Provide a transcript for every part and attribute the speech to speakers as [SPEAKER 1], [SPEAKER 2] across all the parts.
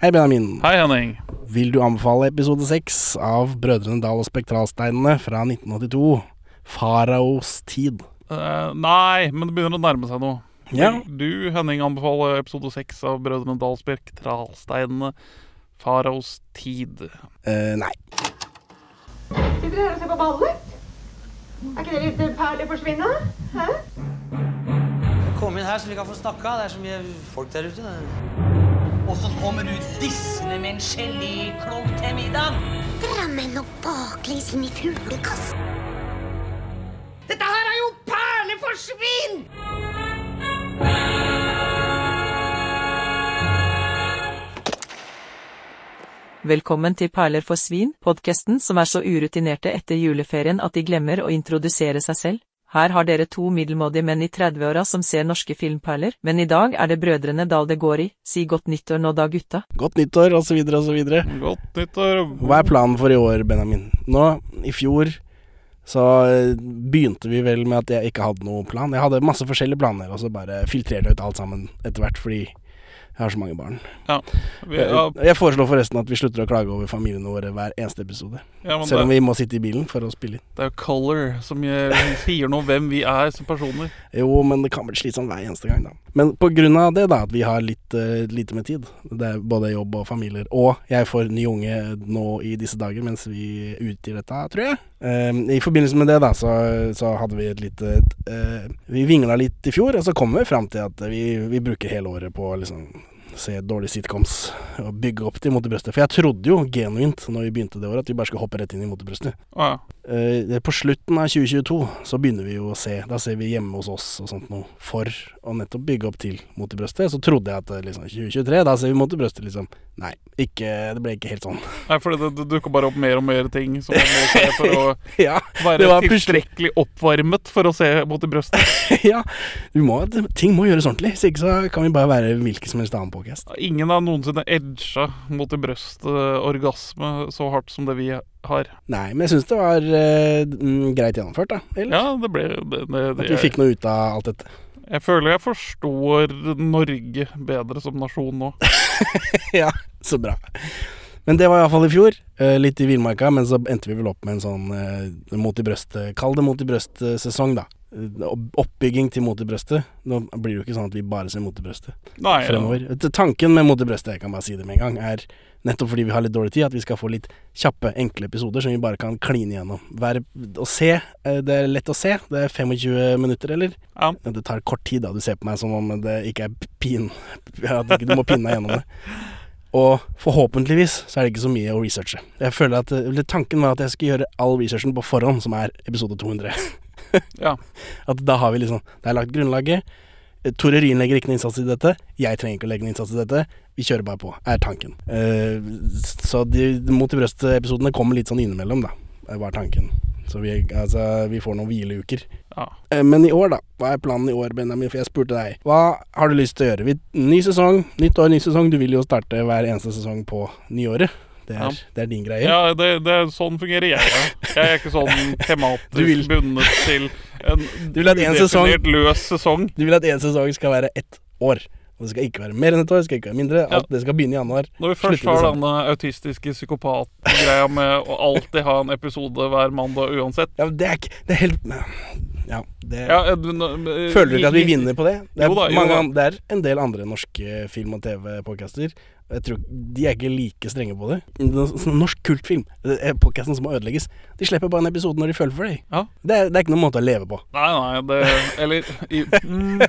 [SPEAKER 1] Hei, Benjamin.
[SPEAKER 2] Hei, Henning.
[SPEAKER 1] Vil du anbefale episode seks av Brødrene Dal og Spektralsteinene fra 1982? Faraos tid.
[SPEAKER 2] Eh, nei, men det begynner å nærme seg noe.
[SPEAKER 1] Ja,
[SPEAKER 2] Vil Du, Henning, anbefaler episode seks av Brødrene Dalsbjerg, Tralsteinene, Faraos tid.
[SPEAKER 1] eh, nei.
[SPEAKER 3] Sitter dere her og ser på ballet? Er ikke det litt perlig forsvinne? Hæ?
[SPEAKER 4] Kom inn her så vi kan få snakka. Det er så mye folk der ute. Og så kommer du dissende med en geléklump til middag.
[SPEAKER 5] Drammen og baklengs inn i fuglekassen.
[SPEAKER 6] Velkommen til Perler for svin, podkasten som er så urutinerte etter juleferien at de glemmer å introdusere seg selv. Her har dere to middelmådige menn i 30-åra som ser norske filmperler, men i dag er det brødrene Dahl det går i. Si godt nyttår nå da, gutta.
[SPEAKER 1] Godt nyttår, osv., osv.
[SPEAKER 2] Godt nyttår.
[SPEAKER 1] Hva er planen for i år, Benjamin? Nå, i fjor, så eh, begynte vi vel med at jeg ikke hadde noen plan. Jeg hadde masse forskjellige planer, og så bare filtrerte jeg ut alt sammen etter hvert, fordi jeg har så mange barn.
[SPEAKER 2] Ja, vi, ja,
[SPEAKER 1] Jeg jeg foreslår forresten at vi slutter å klage over familiene våre hver eneste episode.
[SPEAKER 2] ja, men
[SPEAKER 1] Selv om
[SPEAKER 2] det,
[SPEAKER 1] vi må sitte i bilen for å spille inn.
[SPEAKER 2] det er jo color som gjør- sier noe om hvem vi er som personer.
[SPEAKER 1] Jo, men det kan bli slitsomt hver eneste gang, da. Men på grunn av det, da, at vi har litt eh, lite med tid, det er både jobb og familier, og jeg får ny unge eh, nå i disse dager mens vi utgir dette, tror jeg. Eh, I forbindelse med det, da, så, så hadde vi et lite eh, Vi vingla litt i fjor, og så kom vi fram til at vi, vi bruker hele året på å liksom se dårlige sitcoms og bygge opp til motebrøstet. For jeg trodde jo genuint når vi begynte det året, at vi bare skulle hoppe rett inn i motebrøstet.
[SPEAKER 2] Å, ja.
[SPEAKER 1] Eh, På slutten av 2022 så begynner vi jo å se, da ser vi hjemme hos oss og sånt noe, for å nettopp bygge opp til Mot i brøstet. Så trodde jeg at eh, liksom 2023, da ser vi Mot i brøstet, liksom. Nei, ikke, det ble ikke helt sånn.
[SPEAKER 2] Nei, fordi det, det dukker bare opp mer og mer ting som man må se for å
[SPEAKER 1] ja, Det
[SPEAKER 2] være
[SPEAKER 1] var plutselig-
[SPEAKER 2] tilstrekkelig oppvarmet for å se mot i brøstet.
[SPEAKER 1] ja. Du må, ting må gjøres ordentlig, hvis ikke så kan vi bare være hvilken som helst annen podcast.
[SPEAKER 2] Ingen har noensinne edga mot i brøstet-orgasme så hardt som det vi har.
[SPEAKER 1] Nei, men jeg syns det var eh, mm, greit gjennomført, da. Eller?
[SPEAKER 2] Ja, det ble det, det, det,
[SPEAKER 1] At vi fikk noe ut av alt dette.
[SPEAKER 2] Jeg føler jeg forstår Norge bedre som nasjon nå.
[SPEAKER 1] Så bra. Men det var iallfall i fjor. eh, Litt i villmarka, men så endte vi vel opp med en sånn eh, mot i brøstet Kall det mot i brøst-sesong, da. Eh, opp- Oppbygging til mot i brøstet. Nå blir det jo ikke sånn at vi bare ser mot i brøstet
[SPEAKER 2] Nei,
[SPEAKER 1] fremover. Eh, Tanken med mot i brøstet, jeg kan bare si det med en gang, er nettopp fordi vi har litt dårlig tid, at vi skal få litt kjappe, enkle episoder som vi bare kan kline gjennom. Hver, å se, eh, det er lett å se. Det er 25 minutter, eller?
[SPEAKER 2] Ja.
[SPEAKER 1] Det tar kort tid, da. Du ser på meg som om det ikke er pin... At ikke du må pinne deg gjennom det. Og forhåpentligvis så er det ikke så mye å researche. Jeg føler at eller Tanken var at jeg skulle gjøre all researchen på forhånd, som er episode 200.
[SPEAKER 2] Ja.
[SPEAKER 1] At da har vi liksom Det er lagt grunnlaget. Eh, Tore Ryen legger ikke noen innsats i dette. Jeg trenger ikke å legge noen innsats i dette. Vi kjører bare på, er tanken. Eh, så de de Mot i brøstet-episodene kommer litt sånn innimellom, da. Det var tanken. Så vi, altså, vi får noen hvileuker.
[SPEAKER 2] ja.
[SPEAKER 1] Eh, Men i år, da. Hva er planen i år, Benjamin? For jeg spurte deg. Hva har du lyst til å gjøre? Vi- Ny sesong, nytt år, ny sesong. Du vil jo starte hver eneste sesong på nyåret. Det er,
[SPEAKER 2] Ja.
[SPEAKER 1] det er din greie.
[SPEAKER 2] ja det, det, er- sånn fungerer jeg. Ja. Jeg er ikke sånn
[SPEAKER 1] Du vil-
[SPEAKER 2] tematisk bundet til en
[SPEAKER 1] Du vil at en sesong-
[SPEAKER 2] udefinert løs sesong.
[SPEAKER 1] Du vil at én sesong skal være ett år. Og det skal ikke være mer enn et år, det skal ikke være mindre.
[SPEAKER 2] Ja.
[SPEAKER 1] Alt det skal begynne i januar.
[SPEAKER 2] Når vi først
[SPEAKER 1] Slutter i
[SPEAKER 2] har
[SPEAKER 1] desember.
[SPEAKER 2] denne autistiske psykopat-greia med å alltid ha en episode hver mandag uansett
[SPEAKER 1] Ja, men det er ikke Det er helt Ja, det
[SPEAKER 2] ja, eh, du, nå-
[SPEAKER 1] Føler du ikke at vi vinner på det? Det er,
[SPEAKER 2] Jo da, jo
[SPEAKER 1] mange,
[SPEAKER 2] da.
[SPEAKER 1] an- det er en del andre norske film- og TV-podcaster. Jeg tror De er ikke like strenge på det. Sånn Norsk kultfilm, det er podcasten som må ødelegges, de slipper bare en episode når de føler for det.
[SPEAKER 2] Ja.
[SPEAKER 1] Det, er, det er ikke noen måte å leve på.
[SPEAKER 2] Nei, nei, det Eller i, mm,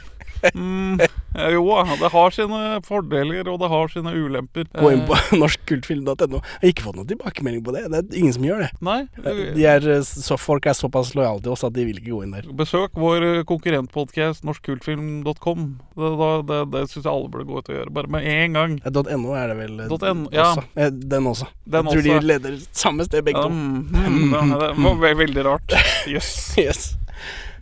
[SPEAKER 2] mm, Jo da, det har sine fordeler, og det har sine ulemper.
[SPEAKER 1] Gå inn på
[SPEAKER 2] Eh,
[SPEAKER 1] norskkultfilm.no. Jeg har ikke fått noen tilbakemelding på det. Det er ingen som gjør det.
[SPEAKER 2] Nei. eh,
[SPEAKER 1] De er, så folk er såpass lojale til oss at de vil ikke gå inn der.
[SPEAKER 2] Besøk vår eh, konkurrentpodkast norskkultfilm.com. Det, det, det, det syns jeg alle burde gå ut og gjøre, bare med en gang.
[SPEAKER 1] Ja, .no er det vel eh,
[SPEAKER 2] Dot N, ja.
[SPEAKER 1] også. Eh, Den også.
[SPEAKER 2] Den
[SPEAKER 1] jeg tror
[SPEAKER 2] også.
[SPEAKER 1] de leder samme sted, begge to.
[SPEAKER 2] Um, mm, det, det var ve veldig rart. Jøss. Yes.
[SPEAKER 1] Yes.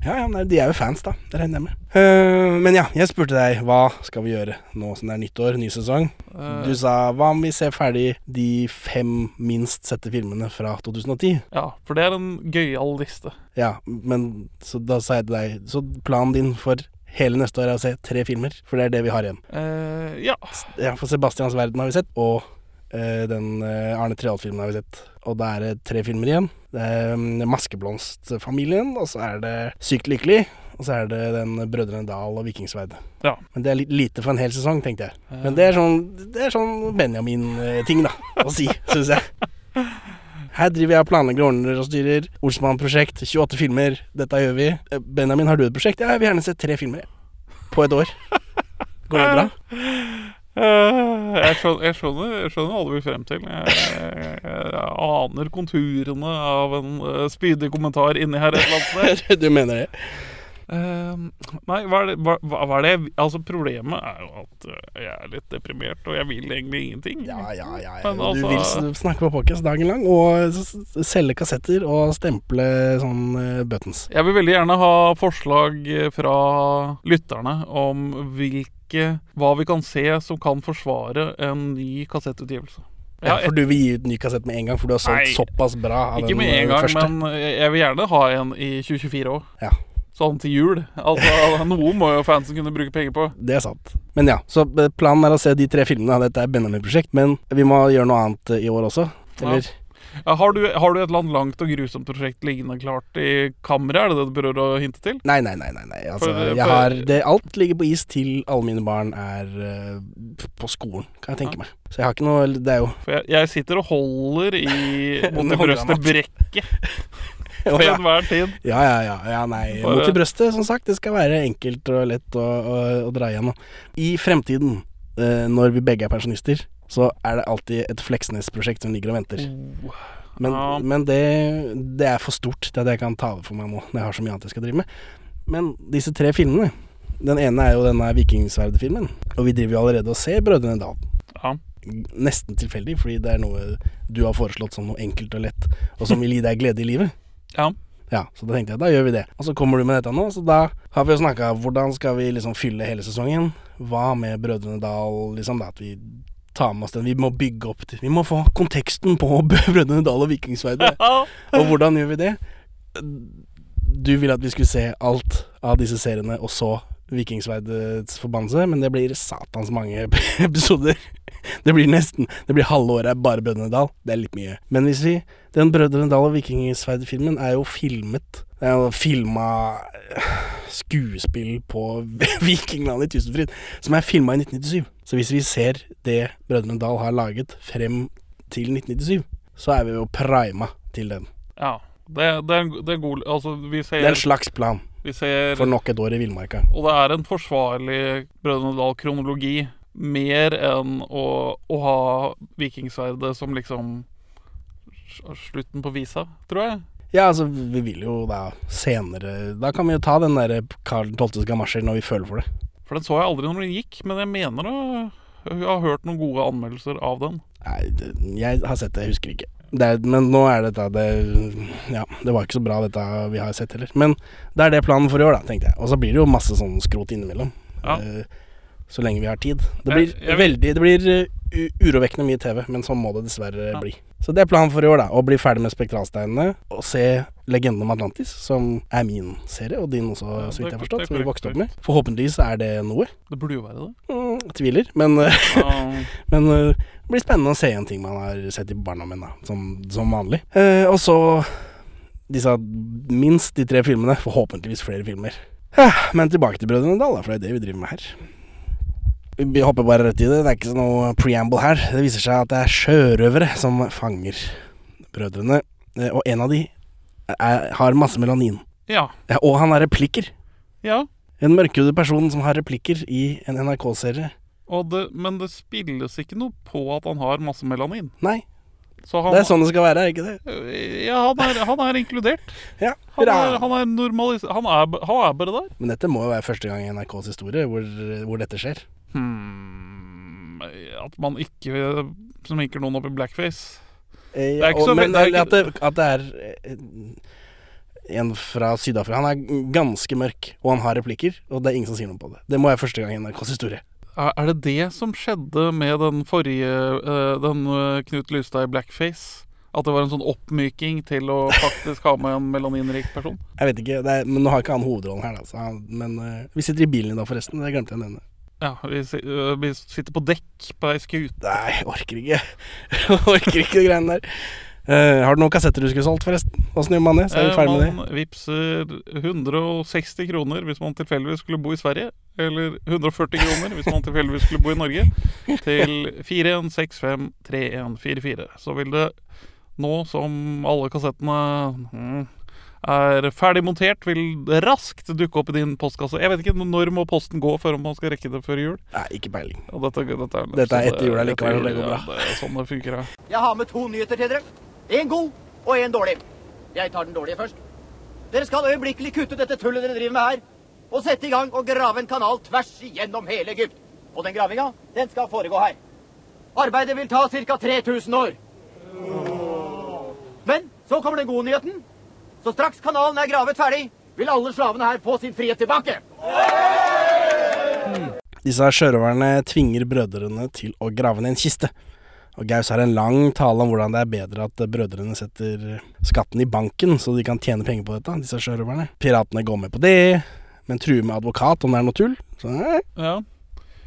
[SPEAKER 1] Ja, ja, nei, de er jo fans, da. Det regner jeg med. Eh, men ja, jeg spurte deg hva skal vi gjøre nå som det er nyttår, ny sesong.
[SPEAKER 2] Eh,
[SPEAKER 1] Du sa hva om vi ser ferdig de fem minst sette filmene fra 2010?
[SPEAKER 2] Eh, ja, for det er en gøyal liste.
[SPEAKER 1] Ja, men så da sa jeg til deg Så planen din for hele neste år er å se tre filmer, for det er det vi har igjen.
[SPEAKER 2] Eh, ja.
[SPEAKER 1] Ja, for Sebastians verden har vi sett, og eh, den eh, Arne Treholt-filmen har vi sett. Og da er det tre filmer igjen. Det er mm, Maskeblomstfamilien, og så er det Sykt lykkelig, og så er det den Brødrene Dal og Vikingsverd.
[SPEAKER 2] Ja.
[SPEAKER 1] Men det er litt lite for en hel sesong, tenkte jeg. Men det er sånn, det er sånn Benjamin-ting, da, å si, syns jeg. Her driver jeg og planlegger ordner og styrer. Olsmann-prosjekt, 28 filmer. Dette gjør vi. Eh, Benjamin, har du et prosjekt? Ja, jeg vil gjerne se tre filmer. På et år. Går det bra?
[SPEAKER 2] Eh, jeg, skjønner, jeg, skjønner, jeg skjønner hva du vil frem til. Jeg, jeg, jeg aner konturene av en eh, spydig kommentar inni her et eller annet sted.
[SPEAKER 1] du mener det?
[SPEAKER 2] Ehm, nei, hva er det, hva, hva hva er det jeg- Altså, problemet er jo at øh, jeg er litt deprimert, og jeg vil egentlig ingenting.
[SPEAKER 1] Ja, ja, ja.
[SPEAKER 2] Men
[SPEAKER 1] du
[SPEAKER 2] altså-
[SPEAKER 1] vil s- snakke på podcast dagen lang og s- s- selge kassetter og stemple sånn eh, buttons.
[SPEAKER 2] Jeg vil veldig gjerne ha forslag fra lytterne om hvilke Hva vi kan se som kan forsvare en ny kassettutgivelse. Jeg
[SPEAKER 1] Ja,
[SPEAKER 2] har
[SPEAKER 1] for du vil gi ut ny kassett med en gang, for du har solgt
[SPEAKER 2] Nei,
[SPEAKER 1] såpass bra av
[SPEAKER 2] Ikke
[SPEAKER 1] den
[SPEAKER 2] med
[SPEAKER 1] eh,
[SPEAKER 2] en gang,
[SPEAKER 1] første.
[SPEAKER 2] men jeg jeg vil gjerne ha en i 2024 òg.
[SPEAKER 1] Ja.
[SPEAKER 2] Sånn til jul. Altså, noe må jo fansen kunne bruke penger på.
[SPEAKER 1] Det er sant. Men ja, så eh, planen er å se de tre filmene. Dette er Benjamin-prosjekt, men vi må gjøre noe annet eh, i år også. Eller?
[SPEAKER 2] Ja, Har du, har du et eller annet langt og grusomt prosjekt liggende klart i kammeret? Er det det du prøver å hinte til?
[SPEAKER 1] Nei, nei, nei. nei, nei. Altså,
[SPEAKER 2] For-
[SPEAKER 1] jeg
[SPEAKER 2] for-
[SPEAKER 1] har, det, alt ligger på is til alle mine barn er eh, på skolen, kan jeg tenke meg. Så jeg har ikke noe Det er jo
[SPEAKER 2] For jeg, jeg sitter og holder i mot
[SPEAKER 1] Nå
[SPEAKER 2] det
[SPEAKER 1] holder han
[SPEAKER 2] brøstet
[SPEAKER 1] opp.
[SPEAKER 2] brekket
[SPEAKER 1] Å,
[SPEAKER 2] til
[SPEAKER 1] ja.
[SPEAKER 2] enhver tid.
[SPEAKER 1] Ja, ja, ja. ja nei.
[SPEAKER 2] Bare-
[SPEAKER 1] Mot i brøstet, som sagt. Det skal være enkelt og lett å, å, å dra igjennom. I fremtiden, eh, når vi begge er pensjonister, så er det alltid et Fleksnes-prosjekt som ligger og venter. Men,
[SPEAKER 2] Ja.
[SPEAKER 1] men det, det er for stort til at jeg kan ta det for meg nå, når jeg har så mye annet jeg skal drive med. Men disse tre filmene Den ene er jo denne Vikingsverdfilmen, og vi driver jo allerede og ser Brødrene Dal
[SPEAKER 2] Ja.
[SPEAKER 1] nesten tilfeldig, fordi det er noe du har foreslått som noe enkelt og lett, og som vil gi deg glede i livet.
[SPEAKER 2] Ja.
[SPEAKER 1] Ja, Så da tenkte jeg da gjør vi det. Og så kommer du med dette nå, så da har vi jo snakka hvordan skal vi liksom fylle hele sesongen. Hva med Brødrene Dal, liksom, da at vi tar med oss den. Vi må bygge opp til Vi må få konteksten på Brødrene Dal og Vikingsverdet.
[SPEAKER 2] Ja.
[SPEAKER 1] Og hvordan gjør vi det? Du ville at vi skulle se alt av disse seriene, og så Vikingsverdets forbannelse, men det blir satans mange episoder. Det blir nesten Det blir halve året er bare Brødrene Dal. Det er litt mye. Men hvis vi Den Brødrene Dal og Vikingsverd-filmen er jo filmet Det er jo filma øh, skuespill på Vikingland i Tusenfryd, som er filma i 1997. Så hvis vi ser det Brødrene Dal har laget frem til 1997, så er vi jo prima til den.
[SPEAKER 2] ja. Det, det, er en, det er en god Altså, vi
[SPEAKER 1] Det er en
[SPEAKER 2] ser,
[SPEAKER 1] slags plan
[SPEAKER 2] vi ser
[SPEAKER 1] for nok et år i villmarka.
[SPEAKER 2] Og det er en forsvarlig Brødrene Dal-kronologi. Mer enn å, å ha Vikingsverdet som liksom s- slutten på visa, tror jeg.
[SPEAKER 1] Ja, altså, vi vil jo da senere Da kan vi jo ta den derre Karl 12.s gamasjer når vi føler for det.
[SPEAKER 2] For den så jeg aldri når den gikk, men jeg mener å jeg har hørt noen gode anmeldelser av den.
[SPEAKER 1] Nei, det, jeg har sett det, jeg husker ikke. Det er, men nå er dette det, Ja, det var ikke så bra, dette vi har sett heller. Men det er det planen for i år, da, tenkte jeg. Og så blir det jo masse sånn skrot innimellom.
[SPEAKER 2] Ja.
[SPEAKER 1] Eh, Så lenge vi har tid. Det blir
[SPEAKER 2] Jeg- jeg-
[SPEAKER 1] veldig Det blir eh, u- urovekkende mye TV, men sånn må det dessverre
[SPEAKER 2] Ja.
[SPEAKER 1] bli. Så det er planen for i år, da. Å bli ferdig med Spektralsteinene og se Legenden om Atlantis, som er min serie, og din også,
[SPEAKER 2] Ja,
[SPEAKER 1] så vidt
[SPEAKER 2] det
[SPEAKER 1] jeg har
[SPEAKER 2] er- det
[SPEAKER 1] forstått,
[SPEAKER 2] er
[SPEAKER 1] som vi
[SPEAKER 2] korrekt,
[SPEAKER 1] vokste opp med. Forhåpentligvis er det noe.
[SPEAKER 2] Det burde jo være det. Um,
[SPEAKER 1] Mm, tviler, men eh,
[SPEAKER 2] Ja.
[SPEAKER 1] men øh, det blir spennende å se en ting man har sett i barndommen, da, som, som vanlig. Eh, og så disse minst de tre filmene, forhåpentligvis flere filmer. Eh, Men tilbake til Brødrene Dal, da, for det er det vi driver med her. Vi hopper bare rett i det, det er ikke noe preamble her. Det viser seg at det er sjørøvere som fanger brødrene, eh, og en av de er, har masse melanin.
[SPEAKER 2] ja.
[SPEAKER 1] Ja, Og han har replikker.
[SPEAKER 2] ja.
[SPEAKER 1] En mørkhudet person som har replikker i en NRK-serie.
[SPEAKER 2] Og det, men det spilles ikke noe på at han har masse melanin.
[SPEAKER 1] Nei,
[SPEAKER 2] Så han,
[SPEAKER 1] det er sånn det skal være, er det ikke det?
[SPEAKER 2] ja, han, er, han er inkludert.
[SPEAKER 1] Ja,
[SPEAKER 2] Han
[SPEAKER 1] hurra!
[SPEAKER 2] er, han er normalis... Han er, b- han er bare der.
[SPEAKER 1] Men dette må jo være første gang i NRKs historie hvor, hvor dette skjer.
[SPEAKER 2] Hmm, at man ikke sminker noen opp i blackface.
[SPEAKER 1] Eh,
[SPEAKER 2] Det er ikke
[SPEAKER 1] og-
[SPEAKER 2] så
[SPEAKER 1] men
[SPEAKER 2] ve- det er
[SPEAKER 1] at, det, at det er eh, en fra Syd-Afrika Han er ganske mørk, og han har replikker, og det er ingen som sier noe på det. Det må være første gang i NRKs historie.
[SPEAKER 2] Er, er det det som skjedde med den forrige eh, Den eh, Knut Lystad i blackface? At det var en sånn oppmyking til å faktisk ha med en melaninrik person.
[SPEAKER 1] Jeg vet ikke, det er, men nå har ikke han hovedrollen her, da. Så han, men eh, vi sitter i bilen i dag, forresten. Det glemte jeg å nevne.
[SPEAKER 2] Ja, vi, si- øh, vi sitter på dekk på ei skute.
[SPEAKER 1] Nei, jeg orker ikke. Jeg orker ikke de greiene der. Eh, har du noen kassetter du skulle solgt, forresten? Åssen gjør man det? Så er vi ferdig med det.
[SPEAKER 2] Eh, Man vippser 160 kroner hvis man tilfeldigvis skulle bo i Sverige. Eller 140 kroner hvis man tilfeldigvis skulle bo i Norge. Til 41653144. Så vil det nå som alle kassettene mm, er ferdig montert, vil det raskt dukke opp i din postkasse. Jeg vet ikke når må posten gå før om man skal rekke det før jul.
[SPEAKER 1] Nei, ikke peiling.
[SPEAKER 2] Og dette, dette, er,
[SPEAKER 1] Dette er
[SPEAKER 2] så
[SPEAKER 1] etter jul allikevel,
[SPEAKER 2] etter
[SPEAKER 1] og det går
[SPEAKER 2] jul,
[SPEAKER 1] bra.
[SPEAKER 2] Ja, det er sånn det funker her.
[SPEAKER 7] Jeg har med to nyheter til dere. En god og en dårlig. Jeg tar den dårlige først. Dere skal øyeblikkelig kutte dette tullet dere driver med her, og sette i gang og grave en kanal tvers igjennom hele Egypt. Og den gravinga, den skal foregå her. Arbeidet vil ta ca. 3000 år. Men så kommer den gode nyheten. Så straks kanalen er gravet ferdig, vil alle slavene her få sin frihet tilbake.
[SPEAKER 1] Disse her sjørøverne tvinger brødrene til å grave ned en kiste. Og Gaus har en lang tale om hvordan det er bedre at brødrene setter skatten i banken, så de kan tjene penger på dette, disse sjørøverne. Piratene går med på det, men truer med advokat om det er noe tull. Så eh,
[SPEAKER 2] Ja.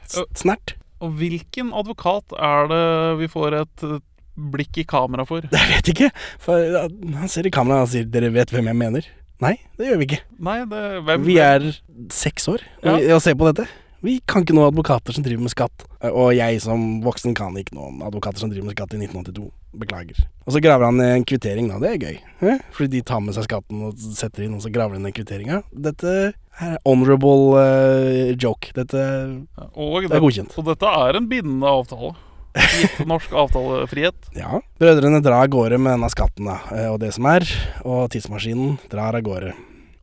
[SPEAKER 1] s- snert.
[SPEAKER 2] Og hvilken advokat er det vi får et eh, blikk i kamera for?
[SPEAKER 1] Jeg vet ikke, for ja, han ser i kameraet og sier 'dere vet hvem jeg mener'. Nei, det gjør vi ikke.
[SPEAKER 2] Nei, det, hvem,
[SPEAKER 1] Vi er seks år og, og ser på dette. Vi kan ikke noen advokater som driver med skatt. Og jeg som voksen kan ikke noe om advokater som driver med skatt i 1982. Beklager. Og så graver han en kvittering, da. Det er gøy. Eh? Fordi de tar med seg skatten og setter inn, og så graver de ned kvitteringa. Dette er honorable eh, joke. Dette
[SPEAKER 2] og
[SPEAKER 1] det er godkjent.
[SPEAKER 2] Og dette er en bindende avtale. Gitt norsk avtalefrihet.
[SPEAKER 1] Ja. Brødrene drar av gårde med denne skatten, da. eh, Og det som er. Og tidsmaskinen drar av gårde.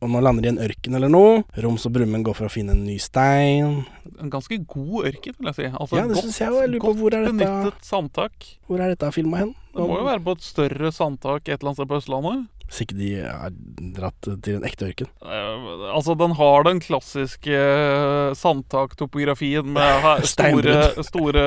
[SPEAKER 1] Og nå lander de i en ørken eller noe. Roms og Brumund går for å finne en ny stein.
[SPEAKER 2] En ganske god ørken, vil jeg si. Altså,
[SPEAKER 1] Ja, det
[SPEAKER 2] godt-
[SPEAKER 1] synes jeg også. Jeg lurer på
[SPEAKER 2] godt
[SPEAKER 1] hvor er dette-
[SPEAKER 2] Benyttet sandtak.
[SPEAKER 1] Hvor er dette filma hen?
[SPEAKER 2] Det må jo være på et større sandtak et eller annet sted på Østlandet.
[SPEAKER 1] Hvis ikke de er dratt til en ekte ørken.
[SPEAKER 2] Eh, Altså, den har den klassiske eh, sandtaktopografien med her- store,
[SPEAKER 1] Steinbrudd.
[SPEAKER 2] store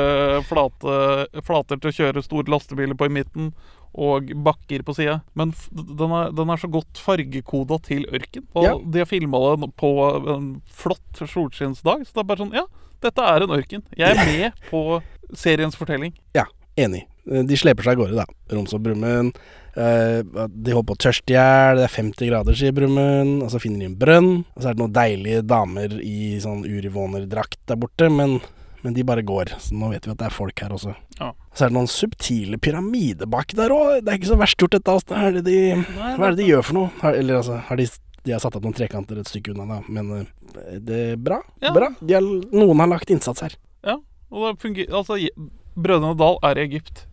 [SPEAKER 2] flate, flater til å kjøre store lastebiler på i midten og bakker på sida. Men f- den er, den er så godt fargekoda til ørken. Og
[SPEAKER 1] Ja.
[SPEAKER 2] de har filma det på en flott solskinnsdag, så det er bare sånn Ja, dette er en ørken. Jeg er med på seriens fortelling.
[SPEAKER 1] Ja, enig. Eh, De sleper seg av gårde, da. Roms og Brumund. Eh, De holder på å tørste i hjel. Det er 50 grader, sier Brumund. Og så finner de en brønn. Og så er det noen deilige damer i sånn urivånerdrakt der borte, men, men de bare går. Så nå vet vi at det er folk her også.
[SPEAKER 2] Ja.
[SPEAKER 1] Og så er det noen subtile pyramider bak der òg. Det er ikke så verst gjort, dette. Altså. Hva er det de, hva er det de gjør for noe? Har, eller altså, har de, de har satt opp noen trekanter et stykke unna, da. Men eh, det er bra.
[SPEAKER 2] Ja.
[SPEAKER 1] bra. De har, noen har lagt innsats her.
[SPEAKER 2] Ja, og det fungerer Altså, je- Brødrene Dal er i Egypt.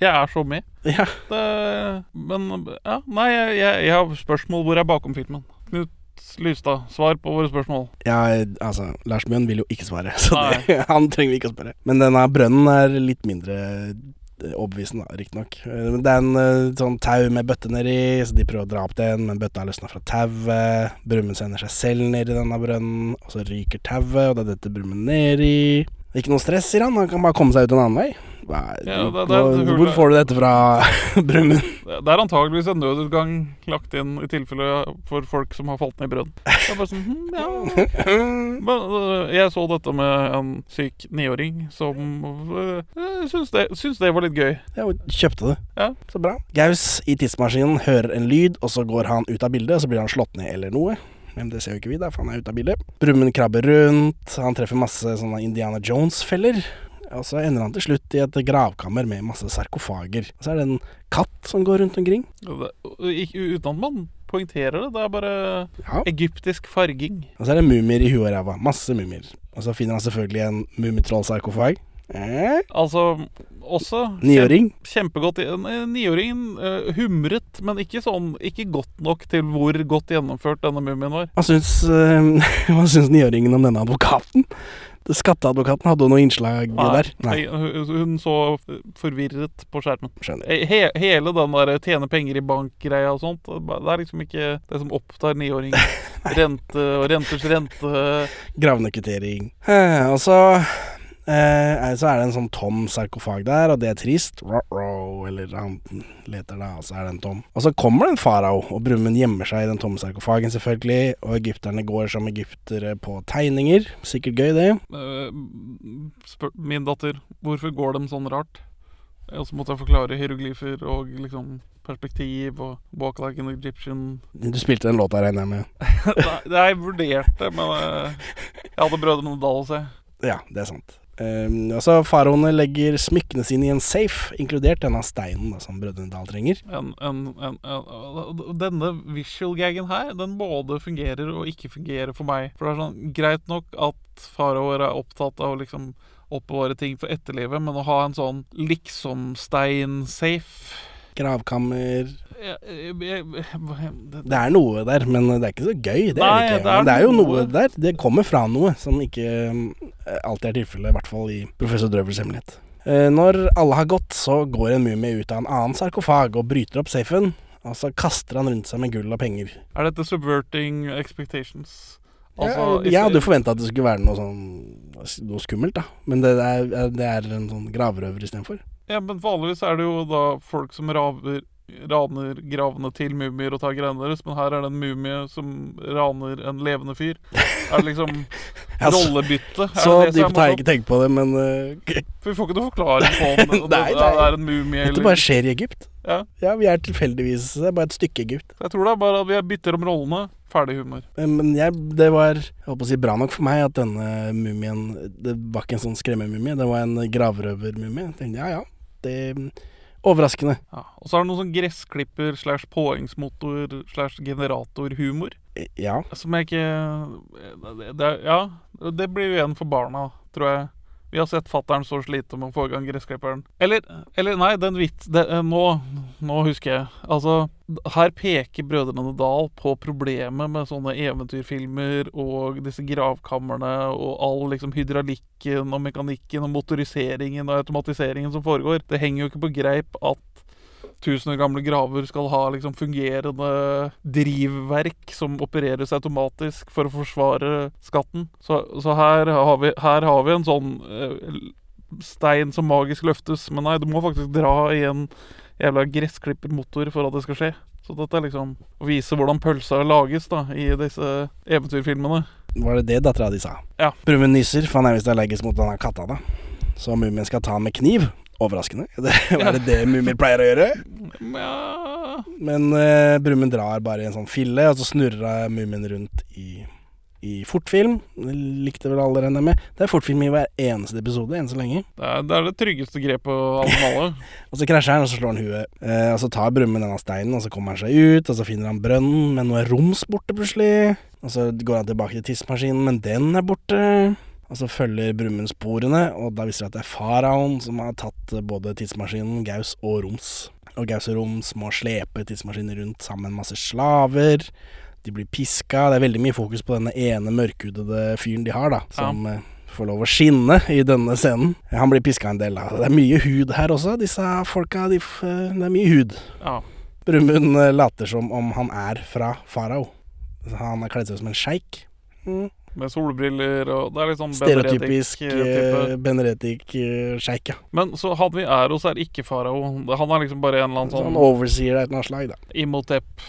[SPEAKER 2] Jeg er så med.
[SPEAKER 1] Ja.
[SPEAKER 2] det, eh, Men ja, nei, jeg, jeg, jeg har spørsmål hvor er bakom filmen. Knut Lystad, svar på våre spørsmål.
[SPEAKER 1] Ja, altså, Lars Mjøen vil jo ikke svare, så
[SPEAKER 2] Ah,
[SPEAKER 1] det,
[SPEAKER 2] Nei.
[SPEAKER 1] han trenger vi ikke å spørre. Men denne brønnen er litt mindre eh, overbevisende, da, riktignok. Eh, men Det er en eh, sånn tau med bøtte nedi, så de prøver å dra opp den, men bøtta har løsna fra tauet. Brumund sender seg selv ned i denne brønnen, og så ryker tauet, og det detter Brumund nedi. Ikke noe stress, sier han, han kan bare komme seg ut en annen vei. Hva,
[SPEAKER 2] Ja, det- det er
[SPEAKER 1] hvor,
[SPEAKER 2] et hull
[SPEAKER 1] hvor
[SPEAKER 2] der.
[SPEAKER 1] får du dette fra, Brumund?
[SPEAKER 2] Det det er antageligvis en nødutgang lagt inn i tilfelle for folk som har falt ned i brønn. Det er bare sånn, hm, ja. Men øh, jeg så dette med en syk niåring som øh, øh, syns det, syns det var litt gøy.
[SPEAKER 1] Ja, og kjøpte det.
[SPEAKER 2] Ja.
[SPEAKER 1] Så bra. Gaus i tidsmaskinen hører en lyd, og så går han ut av bildet, og så blir han slått ned eller noe. Men det ser jo ikke vi, da, for han er ute av bildet. Brumund krabber rundt, han treffer masse sånne Indiana Jones-feller. Og så ender han til slutt i et gravkammer med masse sarkofager. Og så er det en katt som går rundt omkring.
[SPEAKER 2] Det, ikke- uten at man poengterer det. Det er bare
[SPEAKER 1] Ja.
[SPEAKER 2] egyptisk farging.
[SPEAKER 1] Og så er det mumier i huet og ræva. Masse mumier. Og så finner han selvfølgelig en mummitrollsarkofag. Eh?
[SPEAKER 2] Altså også
[SPEAKER 1] Niåring.
[SPEAKER 2] kjempegodt En- en Niåringen eh, humret, men ikke sånn Ikke godt nok til hvor godt gjennomført denne mumien var.
[SPEAKER 1] Hva syns, eh, hva syns niåringen om denne advokaten? Det Skatteadvokaten hadde noe innslag der.
[SPEAKER 2] Nei, hun- Hun så forvirret på skjermen.
[SPEAKER 1] Skjønner.
[SPEAKER 2] Eh, He, hele den der eh, tjene penger i bank-greia og sånt, det er bare- det er liksom ikke det som opptar niåringen. Rente og renters rente
[SPEAKER 1] Gravnekvittering. Eh, og så, eh, er- så er det en sånn tom sarkofag der, og det er trist. Ruh-roh. farao, eller han leter da, og så er det en tom. Og så kommer det en farao, og Brumund gjemmer seg i den tomme sarkofagen, selvfølgelig. Og egypterne går som egyptere på tegninger. Sikkert gøy, det.
[SPEAKER 2] Eh, spør min datter hvorfor går de sånn rart. Eh, Og så måtte jeg forklare hieroglyfer og liksom perspektiv og walk like an Egyptian.
[SPEAKER 1] Du spilte den låta, regner jeg med.
[SPEAKER 2] Nei, nei, jeg vurderte, men eh, jeg hadde Brødrene Dal å se.
[SPEAKER 1] Ja, det er sant. Um, altså, Faraoene legger smykkene sine i en safe, inkludert denne steinen da, som Brødrene Dal trenger.
[SPEAKER 2] En, en, en, en, denne visual-gagen her, den både fungerer og ikke fungerer for meg. For det er sånn, Greit nok at faraoer er opptatt av å liksom oppbevare ting for etterlivet, men å ha en sånn liksom-stein-safe
[SPEAKER 1] Gravkammer
[SPEAKER 2] jeg, jeg, jeg, jeg,
[SPEAKER 1] Det er noe der, men det er ikke så gøy. Det
[SPEAKER 2] Nei,
[SPEAKER 1] er det ikke.
[SPEAKER 2] det er
[SPEAKER 1] Men det er jo
[SPEAKER 2] noe.
[SPEAKER 1] noe der. Det kommer fra noe som ikke um, alltid er tilfellet, i hvert fall i professor Drøvels hemmelighet. Eh, Når alle har gått, så går en mumie ut av en annen sarkofag og bryter opp safen. Og så kaster han rundt seg med gull og penger.
[SPEAKER 2] Er dette subverting expectations? Altså,
[SPEAKER 1] Ja, jeg hadde jo forventa at det skulle være noe sånn Noe skummelt, da. Men det er, det er en sånn gravrøver istedenfor.
[SPEAKER 2] ja, men vanligvis er det jo da folk som raver, raner gravene til mumier og tar greiene deres, men her er det en mumie som raner en levende fyr. Er det liksom
[SPEAKER 1] Ja, så-
[SPEAKER 2] rollebytte? Er
[SPEAKER 1] Så dypt har
[SPEAKER 2] det det som er
[SPEAKER 1] jeg
[SPEAKER 2] morsomt?
[SPEAKER 1] ikke tenkt på det, men eh, k-
[SPEAKER 2] For vi får ikke noe forklaring på om det,
[SPEAKER 1] Nei,
[SPEAKER 2] det
[SPEAKER 1] nei.
[SPEAKER 2] er en mumie
[SPEAKER 1] dette
[SPEAKER 2] eller
[SPEAKER 1] bare skjer i Egypt.
[SPEAKER 2] Ja.
[SPEAKER 1] vi er tilfeldigvis Det er bare et stykke Egypt.
[SPEAKER 2] Jeg tror det er bare at vi bytter om rollene. Ferdig humor.
[SPEAKER 1] Eh, Men jeg, det var jeg håper å si, bra nok for meg at denne mumien Det var ikke en sånn skremmemumie, det var en gravrøvermumie. Jeg tenkte ja ja, det Overraskende.
[SPEAKER 2] Ja. Og så er det noe sånn gressklipper slash påhengsmotor slash generatorhumor.
[SPEAKER 1] Eh, Ja.
[SPEAKER 2] Som jeg ikke det, det, Ja, det blir jo igjen for barna, tror jeg. Vi har sett fatter'n så slite med å få i gang gressklipperen. Eller, eller nei, den vits... Det, eh, nå, nå husker jeg. Altså, her peker Brødrene Dal på problemet med sånne eventyrfilmer og disse gravkamrene og all liksom hydraulikken og mekanikken og motoriseringen og automatiseringen som foregår. Det henger jo ikke på greip at tusen år gamle graver skal ha liksom fungerende drivverk som opereres automatisk for å forsvare skatten. Så, så her, har vi, her har vi en sånn eh, stein som magisk løftes, men nei, du må faktisk dra i en jævla gressklippermotor for at det skal skje. Så dette er liksom å vise hvordan pølsa lages da, i disse eventyrfilmene.
[SPEAKER 1] Var det det dattera di sa?
[SPEAKER 2] Ja.
[SPEAKER 1] Brumund nyser, for han er visst allergisk mot denne katta, da. Så mumien skal ta han med kniv. Overraskende. Hva er det det mumier pleier å gjøre?
[SPEAKER 2] Ja.
[SPEAKER 1] Men uh, Brumund drar bare i en sånn fille, og så snurrer mumien rundt i, i fortfilm. Det likte vel alle, regner jeg med. Det er fortfilm i hver eneste episode enn så lenge.
[SPEAKER 2] Det, er, det er det tryggeste grepet av dem alle.
[SPEAKER 1] Og så krasjer han, og så slår han huet. Eh, og så tar Brumund denne steinen, og så kommer han seg ut, og så finner han brønnen, men nå er Roms borte plutselig. Og så går han tilbake til tidsmaskinen, men den er borte. Og så følger Brumund sporene, og da viser det at det er faraoen som har tatt eh, både tidsmaskinen, Gaus og Roms. Og Gaus og Roms må slepe tidsmaskinen rundt sammen med masse slaver. De blir piska. Det er veldig mye fokus på denne ene mørkhudede fyren de har, da. Som eh, får lov å skinne i denne scenen. Han blir piska en del, da. Det er mye hud her også. Disse folka, de, f- eh, det er mye hud.
[SPEAKER 2] Ja.
[SPEAKER 1] Brumund eh, later som om han er fra farao. Han har kledd seg ut som en sjeik. Mm.
[SPEAKER 2] Med solbriller og Det er litt sånn Ben Reddick,
[SPEAKER 1] Stereotypisk
[SPEAKER 2] type.
[SPEAKER 1] eh, Beneretic-sjeik, ja.
[SPEAKER 2] Men så hadde vi Eros er ikke farao. Han er liksom bare en eller annen
[SPEAKER 1] Så han
[SPEAKER 2] sånn
[SPEAKER 1] overseer av et eller annet slag, da.
[SPEAKER 2] Imhotep.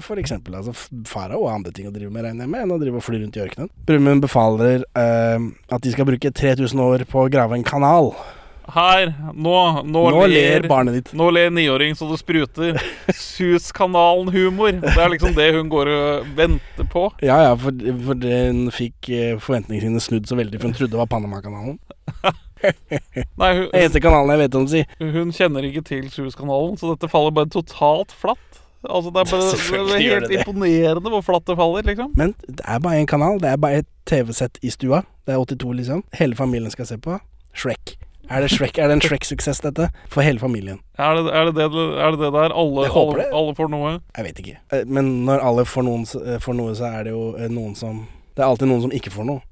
[SPEAKER 1] For eksempel, altså, f- farao har andre ting å drive med, regner jeg med, enn å drive og fly rundt i ørkenen. Brumund befaler eh, at de skal bruke 3000 år på å grave en kanal.
[SPEAKER 2] Her, nå, nå,
[SPEAKER 1] Nå ler barnet ditt.
[SPEAKER 2] Nå ler niåring så det spruter. Suskanalen-humor. Det er liksom det hun går og venter på.
[SPEAKER 1] Ja ja, for, for den fikk eh, forventningene sine snudd så veldig, for hun trodde det var Panamakanalen.
[SPEAKER 2] Nei, hun,
[SPEAKER 1] Eneste kanalen jeg vet om, si.
[SPEAKER 2] hun kjenner ikke til Suskanalen, så dette faller bare totalt flatt. Altså, det er bare
[SPEAKER 1] Selvfølgelig
[SPEAKER 2] det er
[SPEAKER 1] gjør
[SPEAKER 2] helt
[SPEAKER 1] det det.
[SPEAKER 2] imponerende hvor flatt det faller, liksom.
[SPEAKER 1] Men det er bare én kanal. Det er bare et TV-sett i stua. Det er 82, liksom. Hele familien skal se på. Shrek. Er det, Shrek, er det en Shrek-suksess, dette? For hele familien.
[SPEAKER 2] Er det er det, det, er det, det der alle,
[SPEAKER 1] Jeg håper
[SPEAKER 2] alle,
[SPEAKER 1] det.
[SPEAKER 2] alle får noe?
[SPEAKER 1] Jeg vet ikke. Eh, Men når alle får, noen, s- eh, får noe, så er det jo eh, noen som Det er alltid noen som ikke får noe.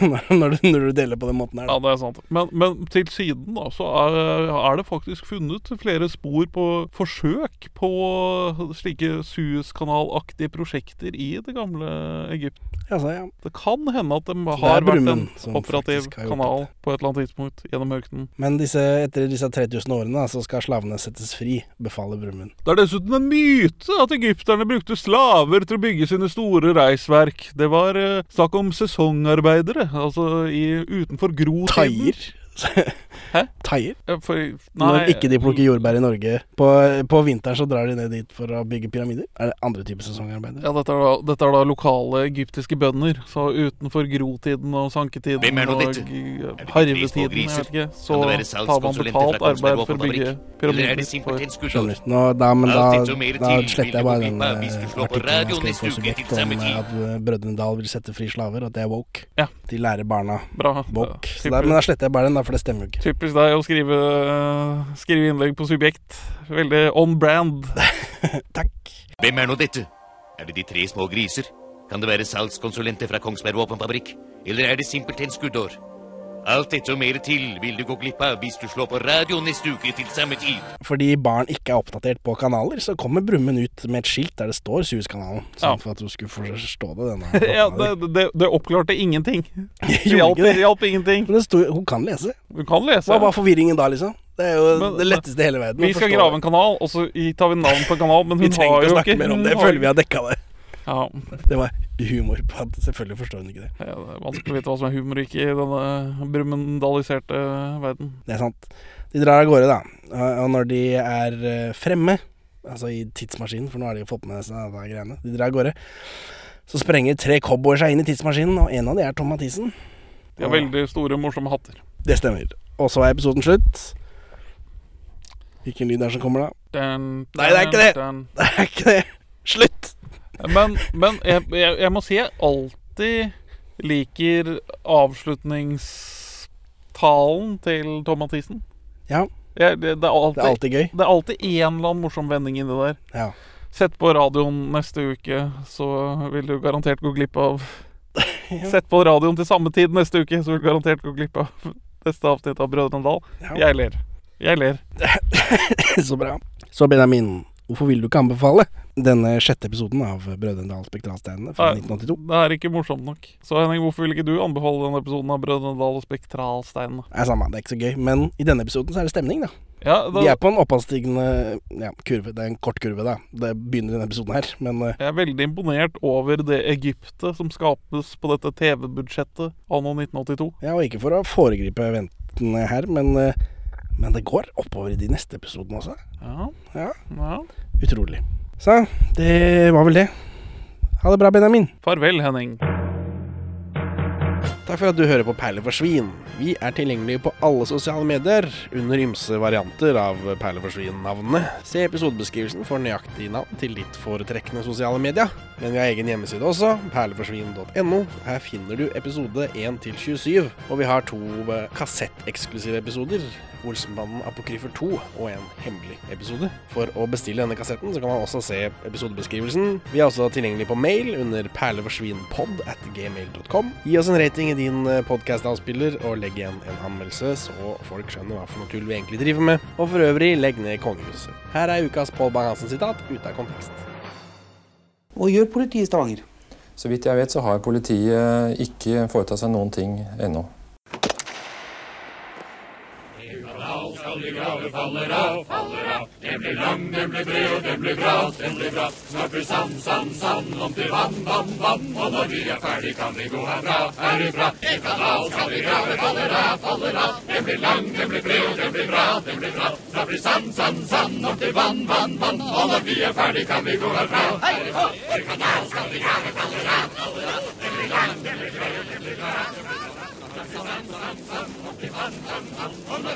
[SPEAKER 1] når, du, når du deler på den måten her.
[SPEAKER 2] Ja,
[SPEAKER 1] da.
[SPEAKER 2] det er sant. Men, men til siden da, så er, er det faktisk funnet flere spor på forsøk på slike Suezkanalaktige prosjekter i det gamle Egypt.
[SPEAKER 1] Ja, så, ja.
[SPEAKER 2] Det kan hende at det
[SPEAKER 1] det er
[SPEAKER 2] har vært en
[SPEAKER 1] Brumund som
[SPEAKER 2] operativ
[SPEAKER 1] faktisk har gjort
[SPEAKER 2] kanal på et eller annet tidspunkt gjennom ørkenen.
[SPEAKER 1] Men disse, etter disse 3000 årene da, så skal slavene settes fri, befaler Brumund.
[SPEAKER 2] Det er dessuten en myte at egypterne brukte slaver til å bygge sine store reisverk. Det var eh, snakk om sesongarbeidere, altså i, utenfor grotiden.
[SPEAKER 1] Taier?
[SPEAKER 2] Hæ?
[SPEAKER 1] Taier?
[SPEAKER 2] Ja, For, nei,
[SPEAKER 1] Når ikke de plukker jordbær i Norge. På, på vinteren så drar de ned dit for å bygge pyramider. Er det andre typer sesongarbeidere?
[SPEAKER 2] Ja, dette er, da, dette er da lokale egyptiske bønder. Så utenfor grotiden og sanketiden
[SPEAKER 8] Hvem er nå
[SPEAKER 2] og
[SPEAKER 8] dette?
[SPEAKER 2] g-
[SPEAKER 8] det pris på
[SPEAKER 2] harvetiden, jeg vet
[SPEAKER 8] griser?
[SPEAKER 2] ikke, så
[SPEAKER 8] Kan det være
[SPEAKER 2] tar man
[SPEAKER 8] salgskonsulenter
[SPEAKER 2] betalt
[SPEAKER 8] fra Kongsberg
[SPEAKER 2] arbeid for å
[SPEAKER 8] Våpenfabrikk?
[SPEAKER 2] bygge
[SPEAKER 8] Eller er
[SPEAKER 2] pyramider.
[SPEAKER 8] det
[SPEAKER 2] For.
[SPEAKER 8] simpelthen
[SPEAKER 1] Skjønner.
[SPEAKER 8] skursomt?
[SPEAKER 1] Nå, da, men
[SPEAKER 8] Alt
[SPEAKER 1] da,
[SPEAKER 8] dette og mer
[SPEAKER 1] da
[SPEAKER 8] til
[SPEAKER 1] sletter jeg
[SPEAKER 8] vil
[SPEAKER 1] bare
[SPEAKER 8] du
[SPEAKER 1] den
[SPEAKER 8] finne
[SPEAKER 1] eh,
[SPEAKER 8] hvis du slår på
[SPEAKER 1] artikkelen jeg
[SPEAKER 8] radioen
[SPEAKER 1] skrev for
[SPEAKER 8] neste uke
[SPEAKER 1] så vidt
[SPEAKER 8] til
[SPEAKER 1] om
[SPEAKER 8] samme tid.
[SPEAKER 1] at eh, Brødrene Dal vil sette fri slaver, at det er woke.
[SPEAKER 2] Ja.
[SPEAKER 1] De lærer barna
[SPEAKER 2] Bra.
[SPEAKER 1] woke.
[SPEAKER 2] Ja,
[SPEAKER 1] Så der, men da sletter jeg bare den, da, for det stemmer jo ikke.
[SPEAKER 2] Typisk deg å skrive, eh, skrive innlegg på subjekt. Veldig on brand.
[SPEAKER 1] Takk.
[SPEAKER 8] Hvem er nå dette? Er det de tre små griser? Kan det være salgskonsulenter fra Kongsberg Våpenfabrikk? Eller er det simpelthen skuddår? Alt dette og mer til vil du gå glipp av hvis du slår på radioen neste uke til samme tid.
[SPEAKER 1] Fordi barn ikke er oppdatert på kanaler, så kommer Brumund ut med et skilt der det står Suezkanalen. Sånn
[SPEAKER 2] Ja.
[SPEAKER 1] for at du skulle forstå det. Denne
[SPEAKER 2] Ja,
[SPEAKER 1] datteren
[SPEAKER 2] det, det, det oppklarte ingenting. Det
[SPEAKER 1] Gjorde
[SPEAKER 2] hjalp,
[SPEAKER 1] ikke det.
[SPEAKER 2] det hjalp ingenting.
[SPEAKER 1] Men det sto, hun kan lese.
[SPEAKER 2] Du kan lese.
[SPEAKER 1] Hva var forvirringen da, liksom? Det er jo
[SPEAKER 2] Men-
[SPEAKER 1] det letteste i hele verden.
[SPEAKER 2] Vi skal grave en kanal, og så i- tar vi navn på en kanal, men
[SPEAKER 1] Vi
[SPEAKER 2] hun
[SPEAKER 1] trenger
[SPEAKER 2] har
[SPEAKER 1] ikke å
[SPEAKER 2] jo
[SPEAKER 1] snakke
[SPEAKER 2] ikke
[SPEAKER 1] mer om
[SPEAKER 2] hun
[SPEAKER 1] det. Jeg
[SPEAKER 2] har-
[SPEAKER 1] føler vi har dekka det.
[SPEAKER 2] Ja,
[SPEAKER 1] Det var humor på at Selvfølgelig forstår hun ikke det.
[SPEAKER 2] det er vanskelig å vite hva som er humor og ikke i denne brumundaliserte verden.
[SPEAKER 1] Det er sant. De drar av gårde, da. Og- Og når de er eh, fremme, altså i tidsmaskinen, for nå har de jo fått med seg alle de greiene, de drar av gårde, så sprenger tre cowboyer seg inn i tidsmaskinen, og en av de er Tom Mathisen.
[SPEAKER 2] De har
[SPEAKER 1] Ja.
[SPEAKER 2] veldig store, morsomme hatter.
[SPEAKER 1] Det stemmer. Og så er episoden slutt. Hvilken lyd er det som kommer da?
[SPEAKER 2] Dun,
[SPEAKER 1] Nei, det er ikke det.
[SPEAKER 2] dun.
[SPEAKER 1] Det er ikke det. Slutt!
[SPEAKER 2] Men, men jeg, jeg, jeg må si jeg alltid liker avslutningstalen til Tom Mathisen.
[SPEAKER 1] Ja,
[SPEAKER 2] Jeg, det,
[SPEAKER 1] det
[SPEAKER 2] det er
[SPEAKER 1] er
[SPEAKER 2] alltid
[SPEAKER 1] alltid gøy.
[SPEAKER 2] det er alltid en eller annen morsom vending inni der.
[SPEAKER 1] Ja.
[SPEAKER 2] Sett på radioen neste uke, så vil du garantert gå glipp av Sett på radioen til samme tid neste uke, så vil du garantert gå glipp av neste avsnitt av Brødrene Dal.
[SPEAKER 1] ja.
[SPEAKER 2] Jeg ler. Jeg ler.
[SPEAKER 1] Så bra. Så Benjamin, hvorfor vil du ikke anbefale denne sjette episoden av Brødrene Dal Spektralsteinene fra
[SPEAKER 2] Nei.
[SPEAKER 1] 1982?
[SPEAKER 2] Det er ikke morsomt nok. Så Henning, hvorfor vil ikke du anbefale denne episoden av Brødrene Dal og Spektralsteinene?
[SPEAKER 1] Nei, samme, det er ikke så gøy. Men i denne episoden så er det stemning, da.
[SPEAKER 2] Ja,
[SPEAKER 1] Vi
[SPEAKER 2] da,
[SPEAKER 1] er på en oppadstigende ja, kurve. Det er en kort kurve, da. Det begynner i denne episoden her, men eh,
[SPEAKER 2] jeg er veldig imponert over det Egyptet som skapes på dette TV-budsjettet anno 1982.
[SPEAKER 1] Ja, og ikke for å foregripe ventene her, men, eh, men det går oppover i de neste episodene også.
[SPEAKER 2] Ja.
[SPEAKER 1] Ja.
[SPEAKER 2] ja.
[SPEAKER 1] Utrolig. Så det var vel det. Ha det bra, Benjamin.
[SPEAKER 2] Farvel, Henning.
[SPEAKER 1] Takk for at du hører på Perler for svin. Vi er tilgjengelige på alle sosiale medier under ymse varianter av Perler for svin-navnene. Se episodebeskrivelsen for nøyaktig navn til ditt foretrekkende sosiale media. Men vi har egen hjemmeside også, perleforsvin.no. Her finner du episode 1 til 27, og vi har to eh, kassetteksklusive episoder. Olsenbanden Apokryfer 2 og en hemmelig episode. For å bestille denne kassetten så kan man også se episodebeskrivelsen. Vi er også tilgjengelig på mail under perleforsvinpod at gmail.com. Gi oss en rating i din podkastavspiller, og legg igjen en anmeldelse, så folk skjønner hva for noe tull vi egentlig driver med. Og for øvrig, legg ned kongehuset. Her er ukas Pål Bang-Hansen-sitat ute av kontekst.
[SPEAKER 9] Hva gjør politiet i Stavanger?
[SPEAKER 10] Så vidt jeg vet, så har politiet ikke foretatt seg noen ting ennå.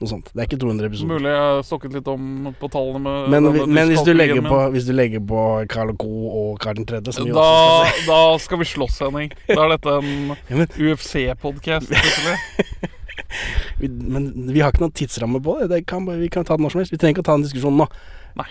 [SPEAKER 1] Noe sånt. Det er ikke 200 episoder.
[SPEAKER 2] Mulig jeg stokket litt om på tallene med
[SPEAKER 1] Men,
[SPEAKER 2] denne
[SPEAKER 1] vi- men hvis, du legger
[SPEAKER 2] dyskalkulien
[SPEAKER 1] på,
[SPEAKER 2] min.
[SPEAKER 1] hvis du legger på Karl Co og Karl 3., som vi
[SPEAKER 2] da,
[SPEAKER 1] også skal se
[SPEAKER 2] da skal vi slåss, Henning. Da er dette en UFC-podkast.
[SPEAKER 1] vi, Men vi har ikke noen tidsramme på det. det kan, bare- vi kan ta det når som helst. Vi trenger ikke å ta en diskusjon nå.